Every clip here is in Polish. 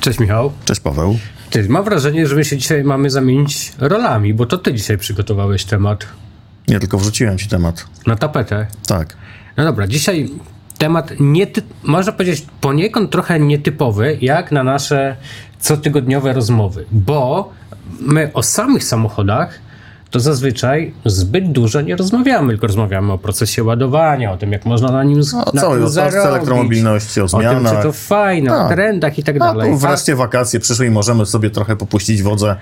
Cześć Michał. Cześć Paweł. Cześć. Mam wrażenie, że my się dzisiaj mamy zamienić rolami, bo to ty dzisiaj przygotowałeś temat Ja tylko wrzuciłem ci temat. na tapetę. Tak. No dobra, dzisiaj temat niety, można powiedzieć poniekąd trochę nietypowy, jak na nasze cotygodniowe rozmowy, bo my o samych samochodach to zazwyczaj zbyt dużo nie rozmawiamy, tylko rozmawiamy o procesie ładowania, o tym, jak można na nim z- No, O na całej tym otwarce zarobić, elektromobilności, o o tym, czy zmianach. to fajne, o Tak. trendach i tak A dalej. tu A wreszcie wakacje przyszły i możemy sobie trochę popuścić wodze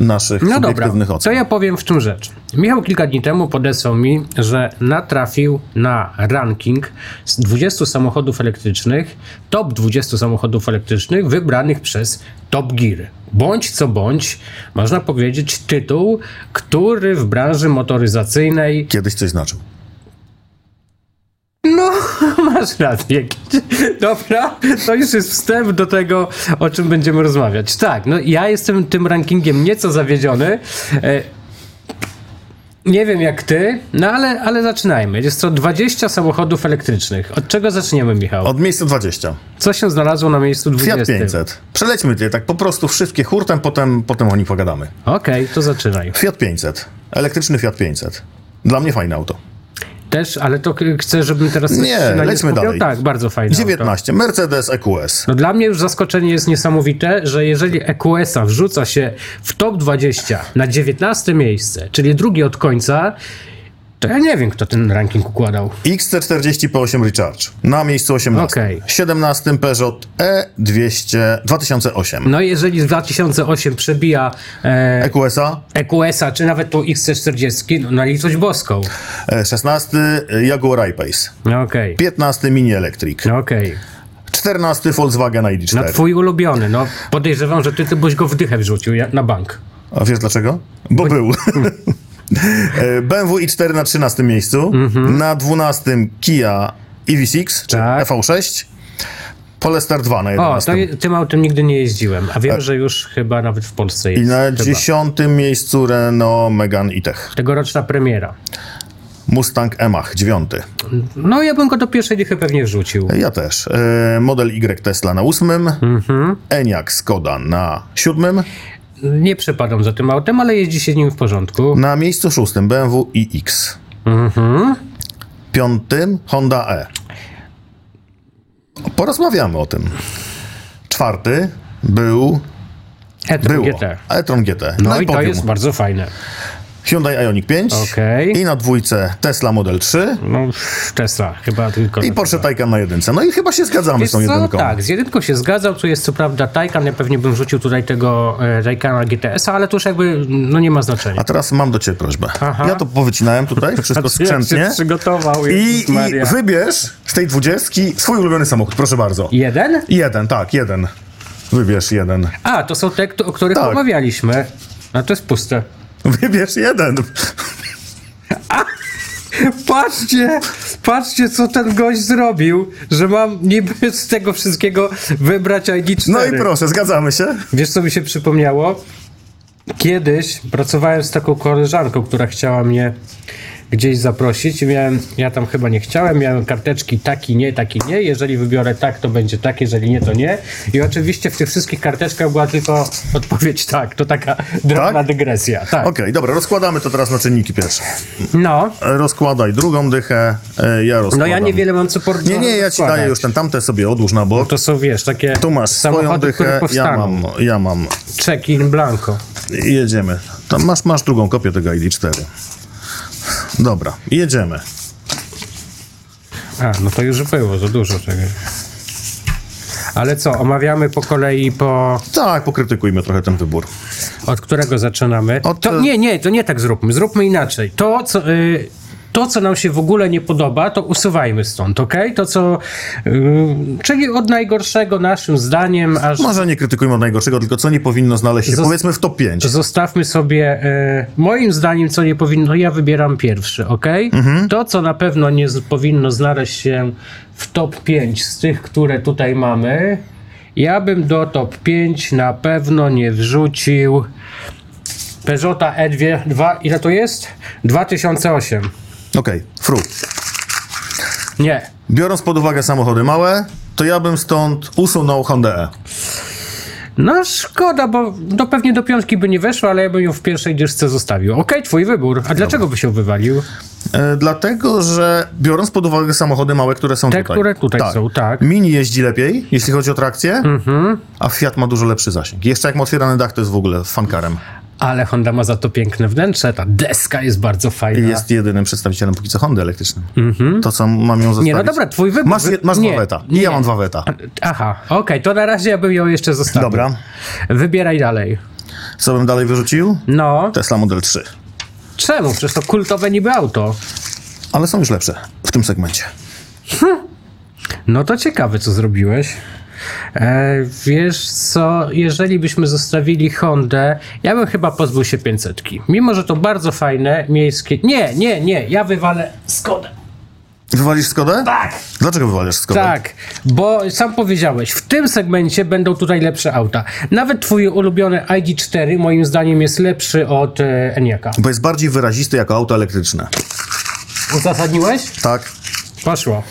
naszych No dobra, subiektywnych co ocen. ja powiem w czym rzecz. Michał kilka dni temu podesłał mi, że natrafił na ranking z 20 samochodów elektrycznych, top 20 samochodów elektrycznych wybranych przez Top Gear. Bądź co bądź, można powiedzieć tytuł, który w branży motoryzacyjnej, Kiedyś coś znaczył. no masz rację, dobra, to już jest wstęp do tego, o czym będziemy rozmawiać. Tak, no ja jestem tym rankingiem nieco zawiedziony, E, Nie wiem jak ty, no ale, ale zaczynajmy. Jest to 20 samochodów elektrycznych. Od czego zaczniemy, Michał? Od miejsca 20. Co się znalazło na miejscu 20? Fiat 500. Przelećmy je tak po prostu wszystkie hurtem, potem, potem o nich pogadamy. Okej, to zaczynaj. Fiat 500. Elektryczny Fiat 500. Dla mnie fajne auto. Też, ale to k- chcę, żebym teraz Nie, się na lećmy skupiał. dalej. Tak, bardzo fajne. auto. 19. Mercedes E EQS. No dla mnie już zaskoczenie jest niesamowite, że jeżeli E EQS-a wrzuca się w top 20 na 19 miejsce, czyli drugi od końca, to ja nie wiem, kto ten ranking układał. XC40 P8 Recharge. Na miejscu 18. Okej. 17. Peugeot E E200 2008. No i jeżeli 2008 przebija e, EQS-a EQS-a, czy nawet tą XC40, no na litość boską. E, 16 Jaguar I-Pace, No Okej, 15 Mini Electric, no okej. 14 Volkswagen No ID4. twój ulubiony, no podejrzewam, że ty, ty byś go w dychę wrzucił jak na bank. A wiesz dlaczego? Bo był. E, BMW i4 na 13 miejscu, na 12 Kia EV6 czy Mhm. Tak. EV6, Polestar 2 na O, 11. to, je- tym autem nigdy nie jeździłem, a wiem, że już chyba nawet w Polsce I jest. na chyba. 10 miejscu Renault Megane E-Tech, Tegoroczna premiera. Mustang Mach 9. No ja bym go do pierwszej dychy pewnie wrzucił. Ja też. E, Model Y Tesla na 8, Mhm. Enyaq Skoda na 7, Nie przepadam za tym autem, ale jeździ się nim w porządku. na miejscu 6 BMW iX. Mhm. Piątym Honda E. Porozmawiamy o tym. Czwarty był. E-tron Było. GT. e-tron GT. No, Na i to podium. jest bardzo fajne. Hyundai Ioniq 5. Okej. I na dwójce Tesla Model 3. No pff, Tesla chyba tylko... I Porsche Taycan na jedynce. No i chyba się zgadzamy Wiesz z tą co? jedynką. Tak, z jedynką się zgadzał, tu jest co prawda Taycan, ja pewnie bym rzucił tutaj tego e, Taycana GTS-a, ale to już jakby, no nie ma znaczenia. A teraz mam do ciebie prośbę. Aha. Ja to powycinałem tutaj, wszystko skrzętnie. przygotował, I, I wybierz z tej dwudziestki swój ulubiony samochód, proszę bardzo. Jeden? Jeden, tak, jeden. Wybierz jeden. A, to są te, kto- o których Tak. omawialiśmy. A to jest puste. Wybierz jeden. Patrzcie, patrzcie co ten gość zrobił, że mam niby z tego wszystkiego wybrać ID4. No i proszę, zgadzamy się. Wiesz, co mi się przypomniało? Kiedyś pracowałem z taką koleżanką, która chciała mnie gdzieś zaprosić. i Miałem, ja tam chyba nie chciałem, miałem karteczki taki, nie, taki, nie. Jeżeli wybiorę tak, to będzie tak, jeżeli nie, to nie. I oczywiście w tych wszystkich karteczkach była tylko odpowiedź tak. To taka drobna Tak? dygresja. Tak. Okej, dobra, rozkładamy to teraz na czynniki pierwsze. No, E, Rozkładaj drugą dychę, e, ja rozkładam. no ja niewiele mam co porównać. Nie, nie, ja ci daję już ten tamte sobie odłóż na bok. To są, wiesz, takie Tu masz swoją samochody, które dychę, ja powstaną. mam, ja mam. Check in blanco. Jedziemy. Tam masz, masz drugą kopię tego ID4. Dobra, jedziemy. A, no to już było, za dużo tego. Ale co, omawiamy po kolei po... Tak, pokrytykujmy trochę ten wybór. Od którego zaczynamy? Od- y- To, nie, nie, to nie tak zróbmy. Zróbmy inaczej. To, co... y, to, co nam się w ogóle nie podoba, to usuwajmy stąd, ok? To, co. y, czyli od najgorszego, naszym zdaniem, aż Może nie krytykujmy od najgorszego, tylko co nie powinno znaleźć się, Zos- powiedzmy w top 5. zostawmy sobie. y, moim zdaniem, co nie powinno. no Ja wybieram pierwszy, ok? To, co na pewno nie z, powinno znaleźć się w top 5 z tych, które tutaj mamy, ja bym do top 5 na pewno nie wrzucił. Peugeota E2, ile to jest? 2008. Okej, fru. Nie. Biorąc pod uwagę samochody małe, to ja bym stąd usunął Hondę E. No szkoda, bo no pewnie do piątki by nie weszła, ale ja bym ją w pierwszej dyszce zostawił. Okej, twój wybór. A dlaczego by się wywalił? E, dlatego, że biorąc pod uwagę samochody małe, które są Te, tutaj. które tutaj są, tak. Mhm. Mini jeździ lepiej, jeśli chodzi o trakcję, a Fiat ma dużo lepszy zasięg. Jeszcze jak ma otwierany dach, to jest w ogóle fankarem. Ale Honda ma za to piękne wnętrze, ta deska jest bardzo fajna. Jest jedynym przedstawicielem póki co Hondy elektrycznym. To, co mam ją zostawić. Tak. Mhm. Nie, no dobra, twój wybór. Masz, je- masz Nie, dwa weta. I nie. tak. ja mam dwa weta. Aha, okej, to na razie ja bym ją jeszcze zostawił. Dobra. Wybieraj dalej. Co bym dalej wyrzucił? No, Tesla Model 3. czemu? Przecież to kultowe niby auto. Ale są już lepsze w tym segmencie. No to ciekawe, co zrobiłeś. E, wiesz co, jeżeli byśmy zostawili Hondę, ja bym chyba pozbył się 500. Mimo, że to bardzo fajne, miejskie... Nie, nie, nie, ja wywalę Skodę. Wywalisz Skodę? Tak! Dlaczego wywalisz Skodę? Tak, bo sam powiedziałeś, w tym segmencie będą tutaj lepsze auta. Nawet twój ulubiony ID4 moim zdaniem jest lepszy od e, Eniaka. Bo jest bardziej wyrazisty jako auto elektryczne. Uzasadniłeś? Tak. Poszło.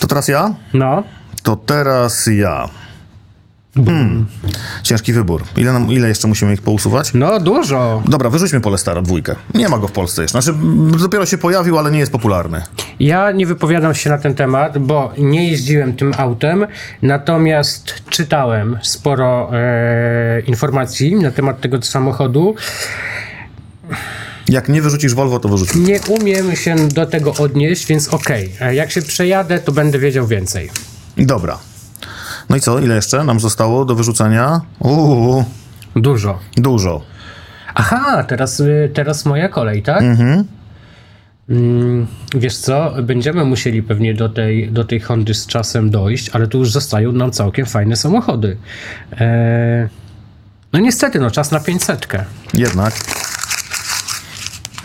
To teraz ja? No. To teraz ja. Hmm. Ciężki wybór. Ile, nam, ile jeszcze musimy ich pousuwać? No dużo. Dobra, wyrzućmy Polestara dwójkę. Nie ma go w Polsce jeszcze. Znaczy, m, dopiero się pojawił, ale nie jest popularny. Ja nie wypowiadam się na ten temat, bo nie jeździłem tym autem, natomiast czytałem sporo e, informacji na temat tego samochodu. Jak nie wyrzucisz Volvo, to wyrzuć. Nie umiem się do tego odnieść, więc okej. E, Jak się przejadę, to będę wiedział więcej. Dobra. No i co? Ile jeszcze nam zostało do wyrzucenia? Uuu, Dużo. dużo. Aha, teraz, y, teraz moja kolej, tak? Mhm. Wiesz co, będziemy musieli pewnie do tej, do tej Hondy z czasem dojść, ale tu już zostają nam całkiem fajne samochody. E... No niestety, no czas na 500. Jednak.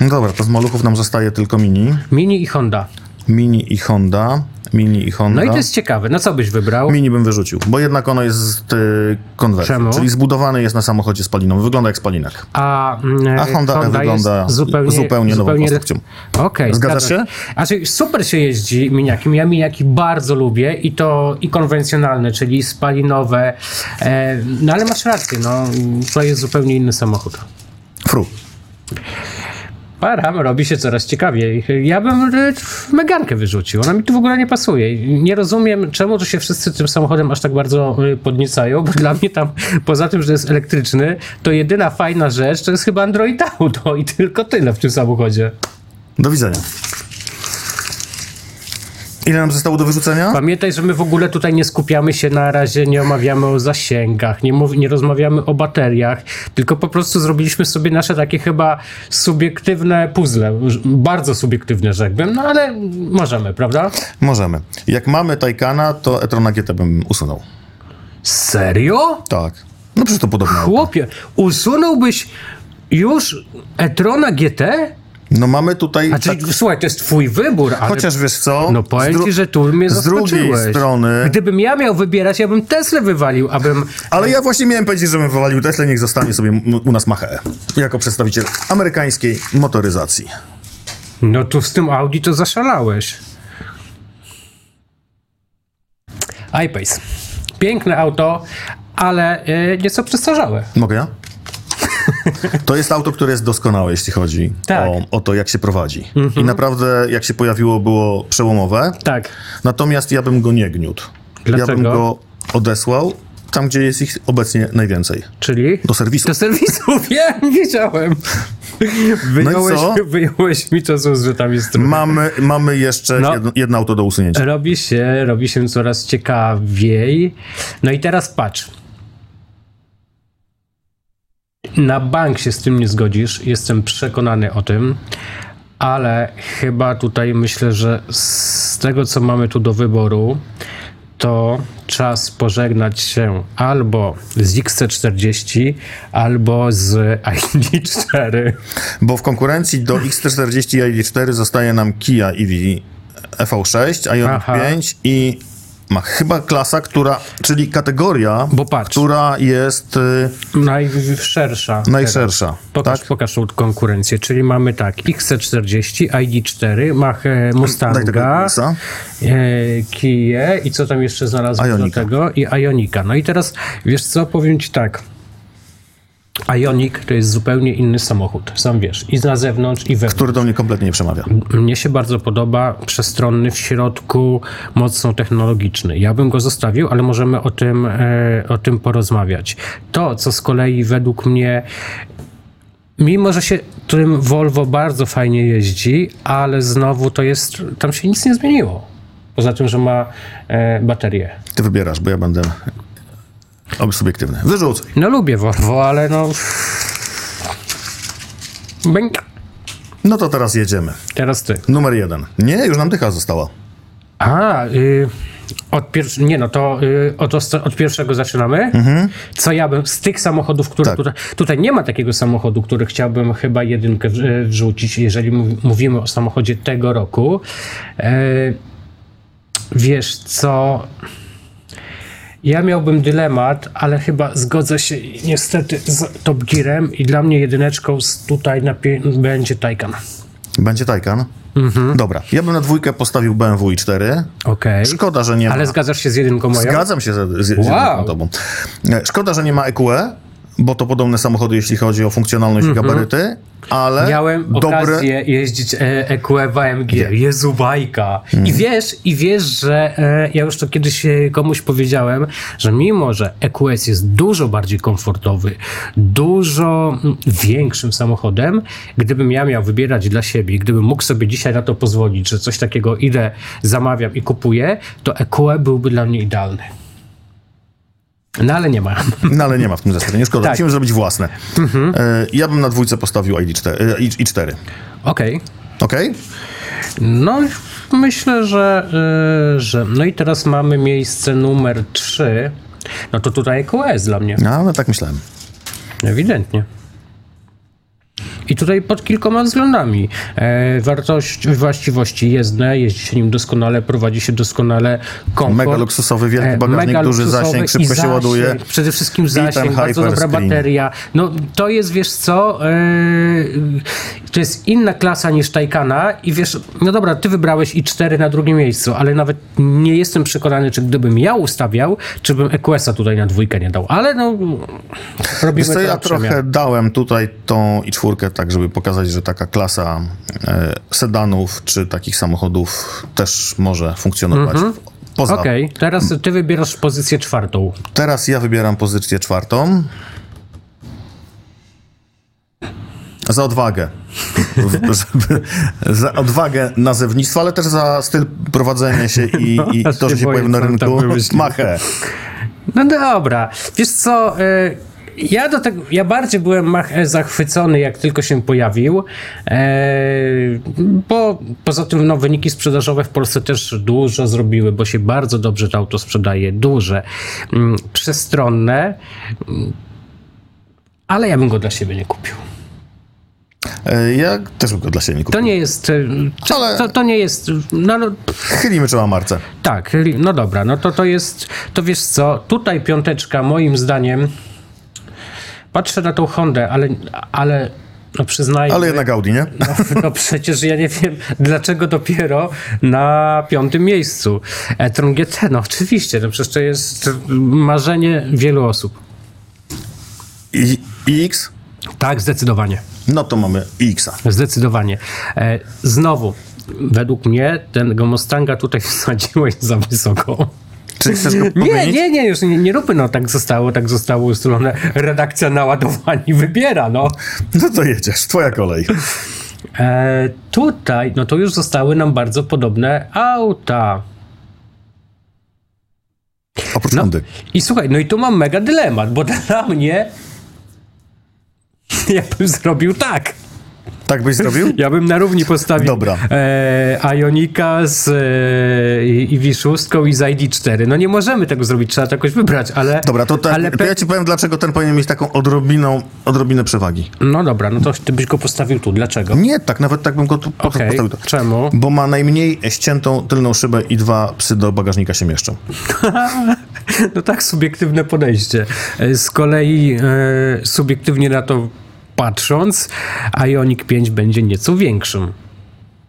No Dobra, to z maluchów nam zostaje tylko Mini. Mini i Honda. Mini i Honda. Mini i Honda. No i to jest ciekawe, no co byś wybrał? Mini bym wyrzucił, bo jednak ono jest z y, konwersji. Czemu? Czyli zbudowane jest na samochodzie spalinowym. Wygląda jak spalinek. A, mm, A Honda wygląda zupełnie, zupełnie nową zupełnie konstrukcją. Okej, Zgadzasz zgadzam Znaczy, super się jeździ miniakiem. Ja miniaki bardzo lubię i to i konwencjonalne, czyli spalinowe. E, no ale masz rację, no to jest zupełnie inny samochód. Fru. Param, robi się coraz ciekawiej. Ja bym y, Megankę wyrzucił. Ona mi tu w ogóle nie pasuje. Nie rozumiem, czemu tu się wszyscy tym samochodem aż tak bardzo y, podniecają, bo dla mnie tam, poza tym, że jest elektryczny, to jedyna fajna rzecz to jest chyba Android Auto i tylko tyle w tym samochodzie. Do widzenia. Ile nam zostało do wyrzucenia? Pamiętaj, że my w ogóle tutaj nie skupiamy się na razie, nie omawiamy o zasięgach, nie, mów, nie rozmawiamy o bateriach, tylko po prostu zrobiliśmy sobie nasze takie chyba subiektywne puzzle. Ż- Bardzo subiektywne, rzekłbym, no ale możemy, prawda? Możemy. Jak mamy Taycana, to e-trona GT bym usunął. Serio? Tak. No przecież to podobne. auto. Chłopie, usunąłbyś już Etrona GT? No mamy tutaj... A czyli, słuchaj, to jest twój wybór, ale... Tak. Chociaż wiesz co? No powiem Z dru- ci, że tu mnie z zaskoczyłeś. drugiej strony- Gdybym ja miał wybierać, ja bym Tesla wywalił, abym... Ale ja właśnie miałem powiedzieć, że bym wywalił Tesla, niech zostanie sobie m- u nas Mache. E. Jako przedstawiciel amerykańskiej motoryzacji. No tu z tym Audi to zaszalałeś. iPace. Piękne auto, ale y, nieco przestarzałe. Mogę ja? To jest auto, które jest doskonałe, jeśli chodzi Tak. Mhm. o, o to, jak się prowadzi. I naprawdę, jak się pojawiło, było przełomowe. Tak. Natomiast ja bym go nie gniótł. Ja bym Dlaczego? go odesłał tam, gdzie jest ich obecnie najwięcej. Czyli? Do serwisu. Do serwisu, wiem, wiedziałem. Wyjąłeś, co? wyjąłeś mi to z zrzutami z trumny. Mamy, mamy jeszcze No. jedno, jedno auto do usunięcia. Robi się, robi się coraz ciekawiej. No i teraz patrz. Na bank się z tym nie zgodzisz, jestem przekonany o tym, ale chyba tutaj myślę, że z tego co mamy tu do wyboru, to czas pożegnać się albo z XC40, albo z ID4. Bo w konkurencji do X340 i E ID4 zostaje nam Kia EV EV6, Aha. Ioniq 5 i ma chyba klasa, która, czyli kategoria, Bo patrz. która jest y, Najszersza. najszersza. Pokaż, tak? pokaż tą konkurencję, czyli mamy tak XC40, ID4, Mach e, Tak, Daj tego Mustanga, Xa. e, Kije i co tam jeszcze znalazłem Ionika. do tego? I Ionika. No i teraz, wiesz co, powiem ci tak. Ioniq to jest zupełnie inny samochód, sam wiesz, i na zewnątrz, i wewnątrz. który do mnie kompletnie nie przemawia. Mnie się bardzo podoba, przestronny w środku, mocno technologiczny. Ja bym go zostawił, ale możemy o tym, e, o tym porozmawiać. To, co z kolei według mnie, mimo że się tym Volvo bardzo fajnie jeździ, ale znowu to jest, tam się nic nie zmieniło. Poza tym, że ma e, baterię. Ty wybierasz, bo ja będę ob- subiektywny. Wyrzucaj. No lubię Volvo, ale no... Bęk. No to teraz jedziemy. Teraz ty. Numer jeden. Nie, już nam dycha została. A, y, od pierwsz- nie no, to y, od, osta- od pierwszego zaczynamy. Co ja bym, z tych samochodów, które Mhm. Tak. tutaj, tutaj nie ma takiego samochodu, który chciałbym chyba jedynkę w, e, wrzucić, jeżeli mów- mówimy o samochodzie tego roku. E, wiesz co, ja miałbym dylemat, ale chyba zgodzę się niestety z Top Gearem i dla mnie jedyneczką z tutaj na pie- będzie Taycan. Będzie Taycan. Dobra, ja bym na dwójkę postawił BMW i4. Okej, Szkoda, że nie ma. ale zgadzasz się z jedynką moją? Zgadzam się z, z, z Wow. jedną tobą. E, Szkoda, że nie ma EQE, bo to podobne samochody, jeśli chodzi o funkcjonalność i gabaryty, ale Miałem Tak? dobre... okazję jeździć e, EQE w AMG. Nie. Mm. Jezu, bajka. I wiesz, i wiesz, że e, ja już to kiedyś e, komuś powiedziałem, że mimo, że EQS jest dużo bardziej komfortowy, dużo mm, większym samochodem, gdybym ja miał wybierać dla siebie, gdybym mógł sobie dzisiaj na to pozwolić, że coś takiego idę, zamawiam i kupuję, to EQE byłby dla mnie idealny. No ale nie ma. No ale nie ma w tym zestawieniu, szkoda. Tak. Musimy zrobić własne. E, Ja bym na dwójce postawił ID4, e, i- i4. Okej. Okej? No, myślę, że, y, że. No i teraz mamy miejsce numer 3. No to tutaj EQS dla mnie, No, ale tak myślałem. ewidentnie. I tutaj pod kilkoma względami. E, wartość, właściwości jezdne, jeździ się nim doskonale, prowadzi się doskonale, komfort. Mega luksusowy, wielki E, bagażnik, mega duży luksusowy zasięg, i szybko się zasięg, ładuje. Przede wszystkim ten zasięg, bardzo dobra hyperscreen. bateria. No to jest, wiesz co, yy, to jest inna klasa niż Taycana i wiesz, no dobra, ty wybrałeś i 4 na drugim miejscu, ale nawet nie jestem przekonany, czy gdybym ja ustawiał, czy bym EQS-a tutaj na dwójkę nie dał, ale no robimy Wiesz co, to ja na przemian. trochę dałem tutaj tą i czwórkę, tak żeby pokazać, że taka klasa e, sedanów czy takich samochodów też może funkcjonować. Poza. Mhm. Okej, teraz ty wybierasz pozycję czwartą. Teraz ja wybieram pozycję czwartą. Za odwagę. W- żeby, za odwagę nazewnictwa, ale też za styl prowadzenia się i, i to, że się No, boję, pojawił na co on tam rynku. wymyślił. Machę. No dobra, wiesz co, y, ja do tego, ja bardziej byłem Mach E zachwycony, jak tylko się pojawił, e, bo poza tym no, wyniki sprzedażowe w Polsce też dużo zrobiły, bo się bardzo dobrze to auto sprzedaje, duże, mm, przestronne, mm, ale ja bym go dla siebie nie kupił. E, Ja też bym go dla siebie nie To kupił. nie jest, y, czy- Ale- to, to nie jest, no, no Chylimy czoła marce. tak, li- no dobra, no to to jest, to wiesz co, tutaj piąteczka moim zdaniem, patrzę na tą Hondę, ale, ale no przyznajmy, Ale jednak Audi, nie? no, no przecież ja nie wiem, dlaczego dopiero na piątym miejscu. e-tron GT, no oczywiście, no przecież to jest marzenie wielu osób. I, i X? Tak, zdecydowanie. No to mamy X-a. Zdecydowanie. E, znowu, według mnie tego Mustanga tutaj wsadziłeś za wysoko. Czy chcesz go Nie, pomienić? nie, nie, już nie, nie róbmy, no tak zostało, tak zostało ustalone. Redakcja naładowani wybiera, no. No to jedziesz, twoja kolej. E, tutaj, no to już zostały nam bardzo podobne auta. Oprócz Hondy. I słuchaj, no i tu mam mega dylemat, bo dla mnie ja bym zrobił tak. Tak byś zrobił? Ja bym na równi postawił Dobra. E, Ionika z, e, i V6 i z ID4. No nie możemy tego zrobić, trzeba to jakoś wybrać, ale... Dobra, to, tak, ale to pe- ja ci powiem, dlaczego ten powinien mieć taką odrobiną, odrobinę przewagi. No dobra, no to ty byś go postawił tu. Dlaczego? Nie, tak, nawet tak bym go tu po- Okej, postawił. czemu? Bo ma najmniej ściętą tylną szybę i dwa psy do bagażnika się mieszczą. No tak, subiektywne podejście. E, Z kolei e, subiektywnie na to patrząc, Ioniq 5 będzie nieco większym.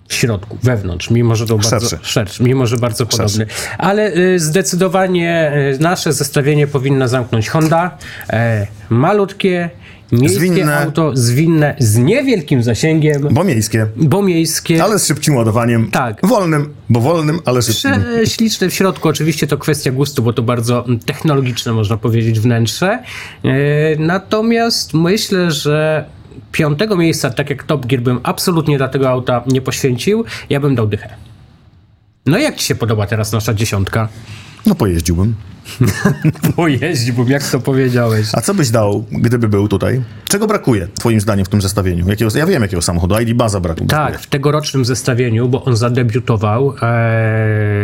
W środku, wewnątrz, mimo że to bardzo Szerszy. szerszy, mimo że bardzo podobny. Ale y, zdecydowanie y, nasze zestawienie powinna zamknąć Honda. E, malutkie, miejskie Zwinne. auto, zwinne, z niewielkim zasięgiem, Bo miejskie, bo miejskie. ale z szybkim ładowaniem. Tak. Wolnym, bo wolnym, ale szybkim. Prze- e, śliczne w środku, oczywiście to kwestia gustu, bo to bardzo mm, technologiczne, można powiedzieć, wnętrze. E, Natomiast myślę, że piątego miejsca, tak jak Top Gear, bym absolutnie dla tego auta nie poświęcił. Ja bym dał dychę. No i jak ci się podoba teraz nasza dziesiątka? No pojeździłbym. Pojeździłbym, jak to powiedziałeś. A co byś dał, gdyby był tutaj? Czego brakuje, twoim zdaniem, w tym zestawieniu? Jakiego, ja wiem, jakiego samochodu. ID Baza brakuje. Tak, w tegorocznym zestawieniu, bo on zadebiutował, e,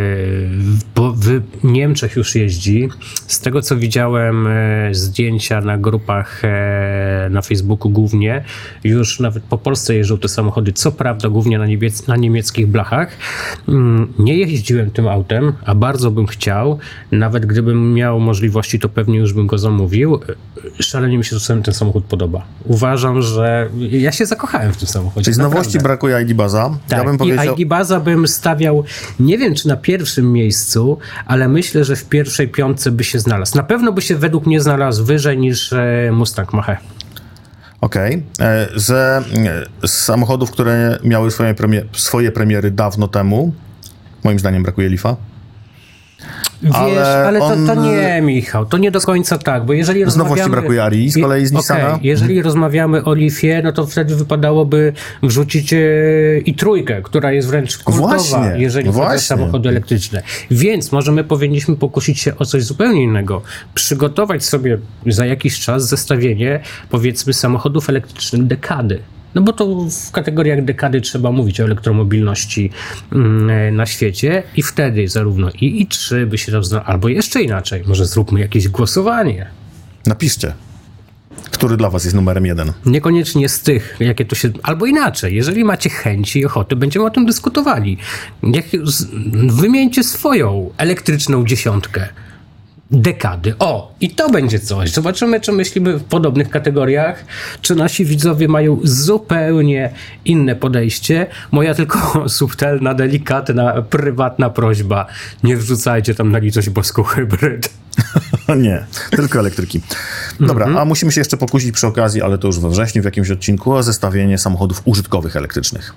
bo w Niemczech już jeździ. Z tego co widziałem e, zdjęcia na grupach e, na Facebooku głównie, już nawet po Polsce jeżdżą te samochody, co prawda głównie na, niebiec, na niemieckich blachach. Mm, Nie jeździłem tym autem, a bardzo bym chciał, nawet gdybym miał możliwości, to pewnie już bym go zamówił. Szalenie mi się czasem ten samochód podoba. Uważam, że ja się zakochałem w tym samochodzie. Czyli z naprawdę. nowości brakuje ID Baza. Tak, Ja bym powiedział... I Agibaza bym stawiał, nie wiem czy na pierwszym miejscu, ale myślę, że w pierwszej piątce by się znalazł. Na pewno by się według mnie znalazł wyżej niż e, Mustang Mach-E. Okej. E, Ze e, z samochodów, które miały swoje, premie, swoje premiery dawno temu, moim zdaniem brakuje Lifa. Wiesz, ale, Ale to, to on- nie, Michał, to nie do końca tak, bo jeżeli Z nowości rozmawiamy... brakuje Arii, z Je- kolei z Nissana. okej, Tak, Mhm. jeżeli rozmawiamy o Lifie, no to wtedy wypadałoby wrzucić e, i trójkę, która jest wręcz kultowa, Właśnie, jeżeli chodzi o właśnie. samochody elektryczne. Więc może my powinniśmy pokusić się o coś zupełnie innego. Przygotować sobie za jakiś czas zestawienie, powiedzmy, samochodów elektrycznych dekady. No bo to w kategoriach dekady trzeba mówić o elektromobilności mm, na świecie i wtedy zarówno i i3 by się tam zna, albo jeszcze inaczej, może zróbmy jakieś głosowanie. Napiszcie, który dla was jest numerem jeden. Niekoniecznie z tych, jakie tu się. Albo inaczej, jeżeli macie chęci i ochoty, będziemy o tym dyskutowali. Jak, z, wymieńcie swoją elektryczną dziesiątkę. Dekady. O, i to będzie coś. Zobaczymy, czy myślimy w podobnych kategoriach, czy nasi widzowie mają zupełnie inne podejście. Moja tylko subtelna, delikatna, prywatna prośba. Nie wrzucajcie tam na litość boską hybryd. Nie, tylko elektryki. Dobra, Mhm. a musimy się jeszcze pokusić przy okazji, ale to już we wrześniu w jakimś odcinku, o zestawienie samochodów użytkowych elektrycznych.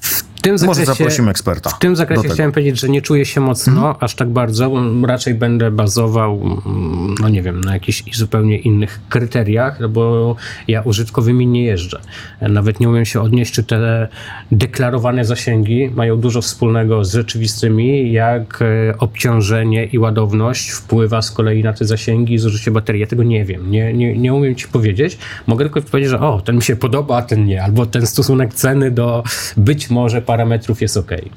W tym Może zakresie... zaprosimy eksperta. W tym zakresie do tego. Mhm. chciałem powiedzieć, że nie czuję się mocno aż tak bardzo. Raczej będę bazował, mm, no nie wiem, na jakichś zupełnie innych kryteriach, no bo ja użytkowymi nie jeżdżę. Nawet nie umiem się odnieść, czy te deklarowane zasięgi mają dużo wspólnego z rzeczywistymi, jak e, obciążenie i ładowność wpływa z kolei na te zasięgi i zużycie baterii. Ja tego nie wiem, nie, nie, nie umiem ci powiedzieć. Mogę tylko powiedzieć, że o, ten mi się podoba, a ten nie, albo ten stosunek ceny do być może parametrów jest okej.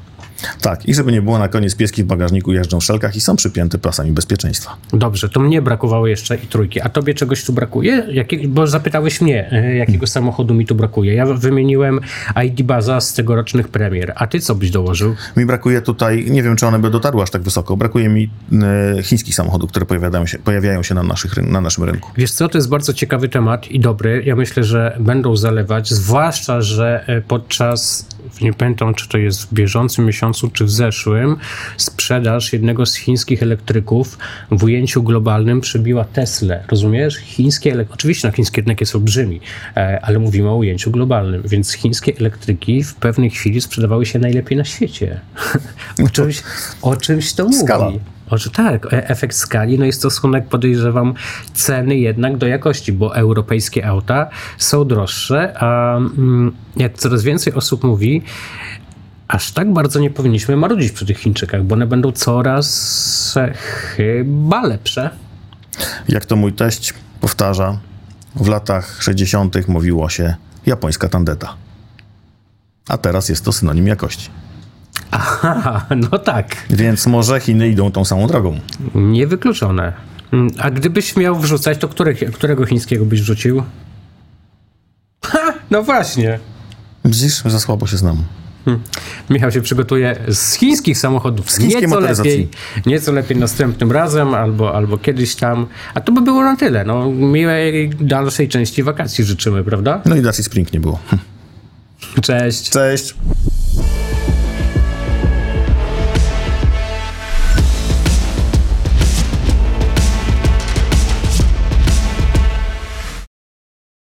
Tak, i żeby nie było na koniec, pieski w bagażniku jeżdżą w szelkach i są przypięte pasami bezpieczeństwa. Dobrze, to mnie brakowało jeszcze i trójki. A tobie czegoś tu brakuje? Jakie, bo zapytałeś mnie, e, jakiego samochodu mi tu brakuje. Ja wymieniłem ID Baza z tegorocznych premier. A ty co byś dołożył? Mi brakuje tutaj, nie wiem czy one by dotarły aż tak wysoko, brakuje mi e, chińskich samochodów, które pojawiają się, pojawiają się na, naszych, ryn- na naszym rynku. Wiesz co, to jest bardzo ciekawy temat i dobry. Ja myślę, że będą zalewać, zwłaszcza, że e, podczas, nie pamiętam czy to jest w bieżącym miesiącu, czy w zeszłym, sprzedaż jednego z chińskich elektryków w ujęciu globalnym przebiła Tesla. Rozumiesz? Chińskie, elek- oczywiście na chiński rynek jest olbrzymi, e, ale mówimy o ujęciu globalnym, więc chińskie elektryki w pewnej chwili sprzedawały się najlepiej na świecie. o, czymś, o czymś to mówi. Skala. Oczy, tak, e- efekt skali, no jest stosunek, podejrzewam, ceny jednak do jakości, bo europejskie auta są droższe, a mm, jak coraz więcej osób mówi, aż tak bardzo nie powinniśmy marudzić przy tych Chińczykach, bo one będą coraz e, chyba lepsze. Jak to mój teść powtarza, w latach 60. mówiło się japońska tandeta. a teraz jest to synonim jakości. Aha, no tak, Więc może Chiny idą tą samą drogą. niewykluczone. Mm, A gdybyś miał wrzucać, to który, którego chińskiego byś wrzucił? Ha, no właśnie. Widzisz, za słabo się znam. Michał się przygotuje z chińskich samochodów. Z chińskiej nieco motoryzacji. lepiej, nieco lepiej następnym razem albo, albo kiedyś tam. A to by było na tyle. No, miłej dalszej części wakacji życzymy, prawda? No i raczej spring nie było. Cześć. Cześć!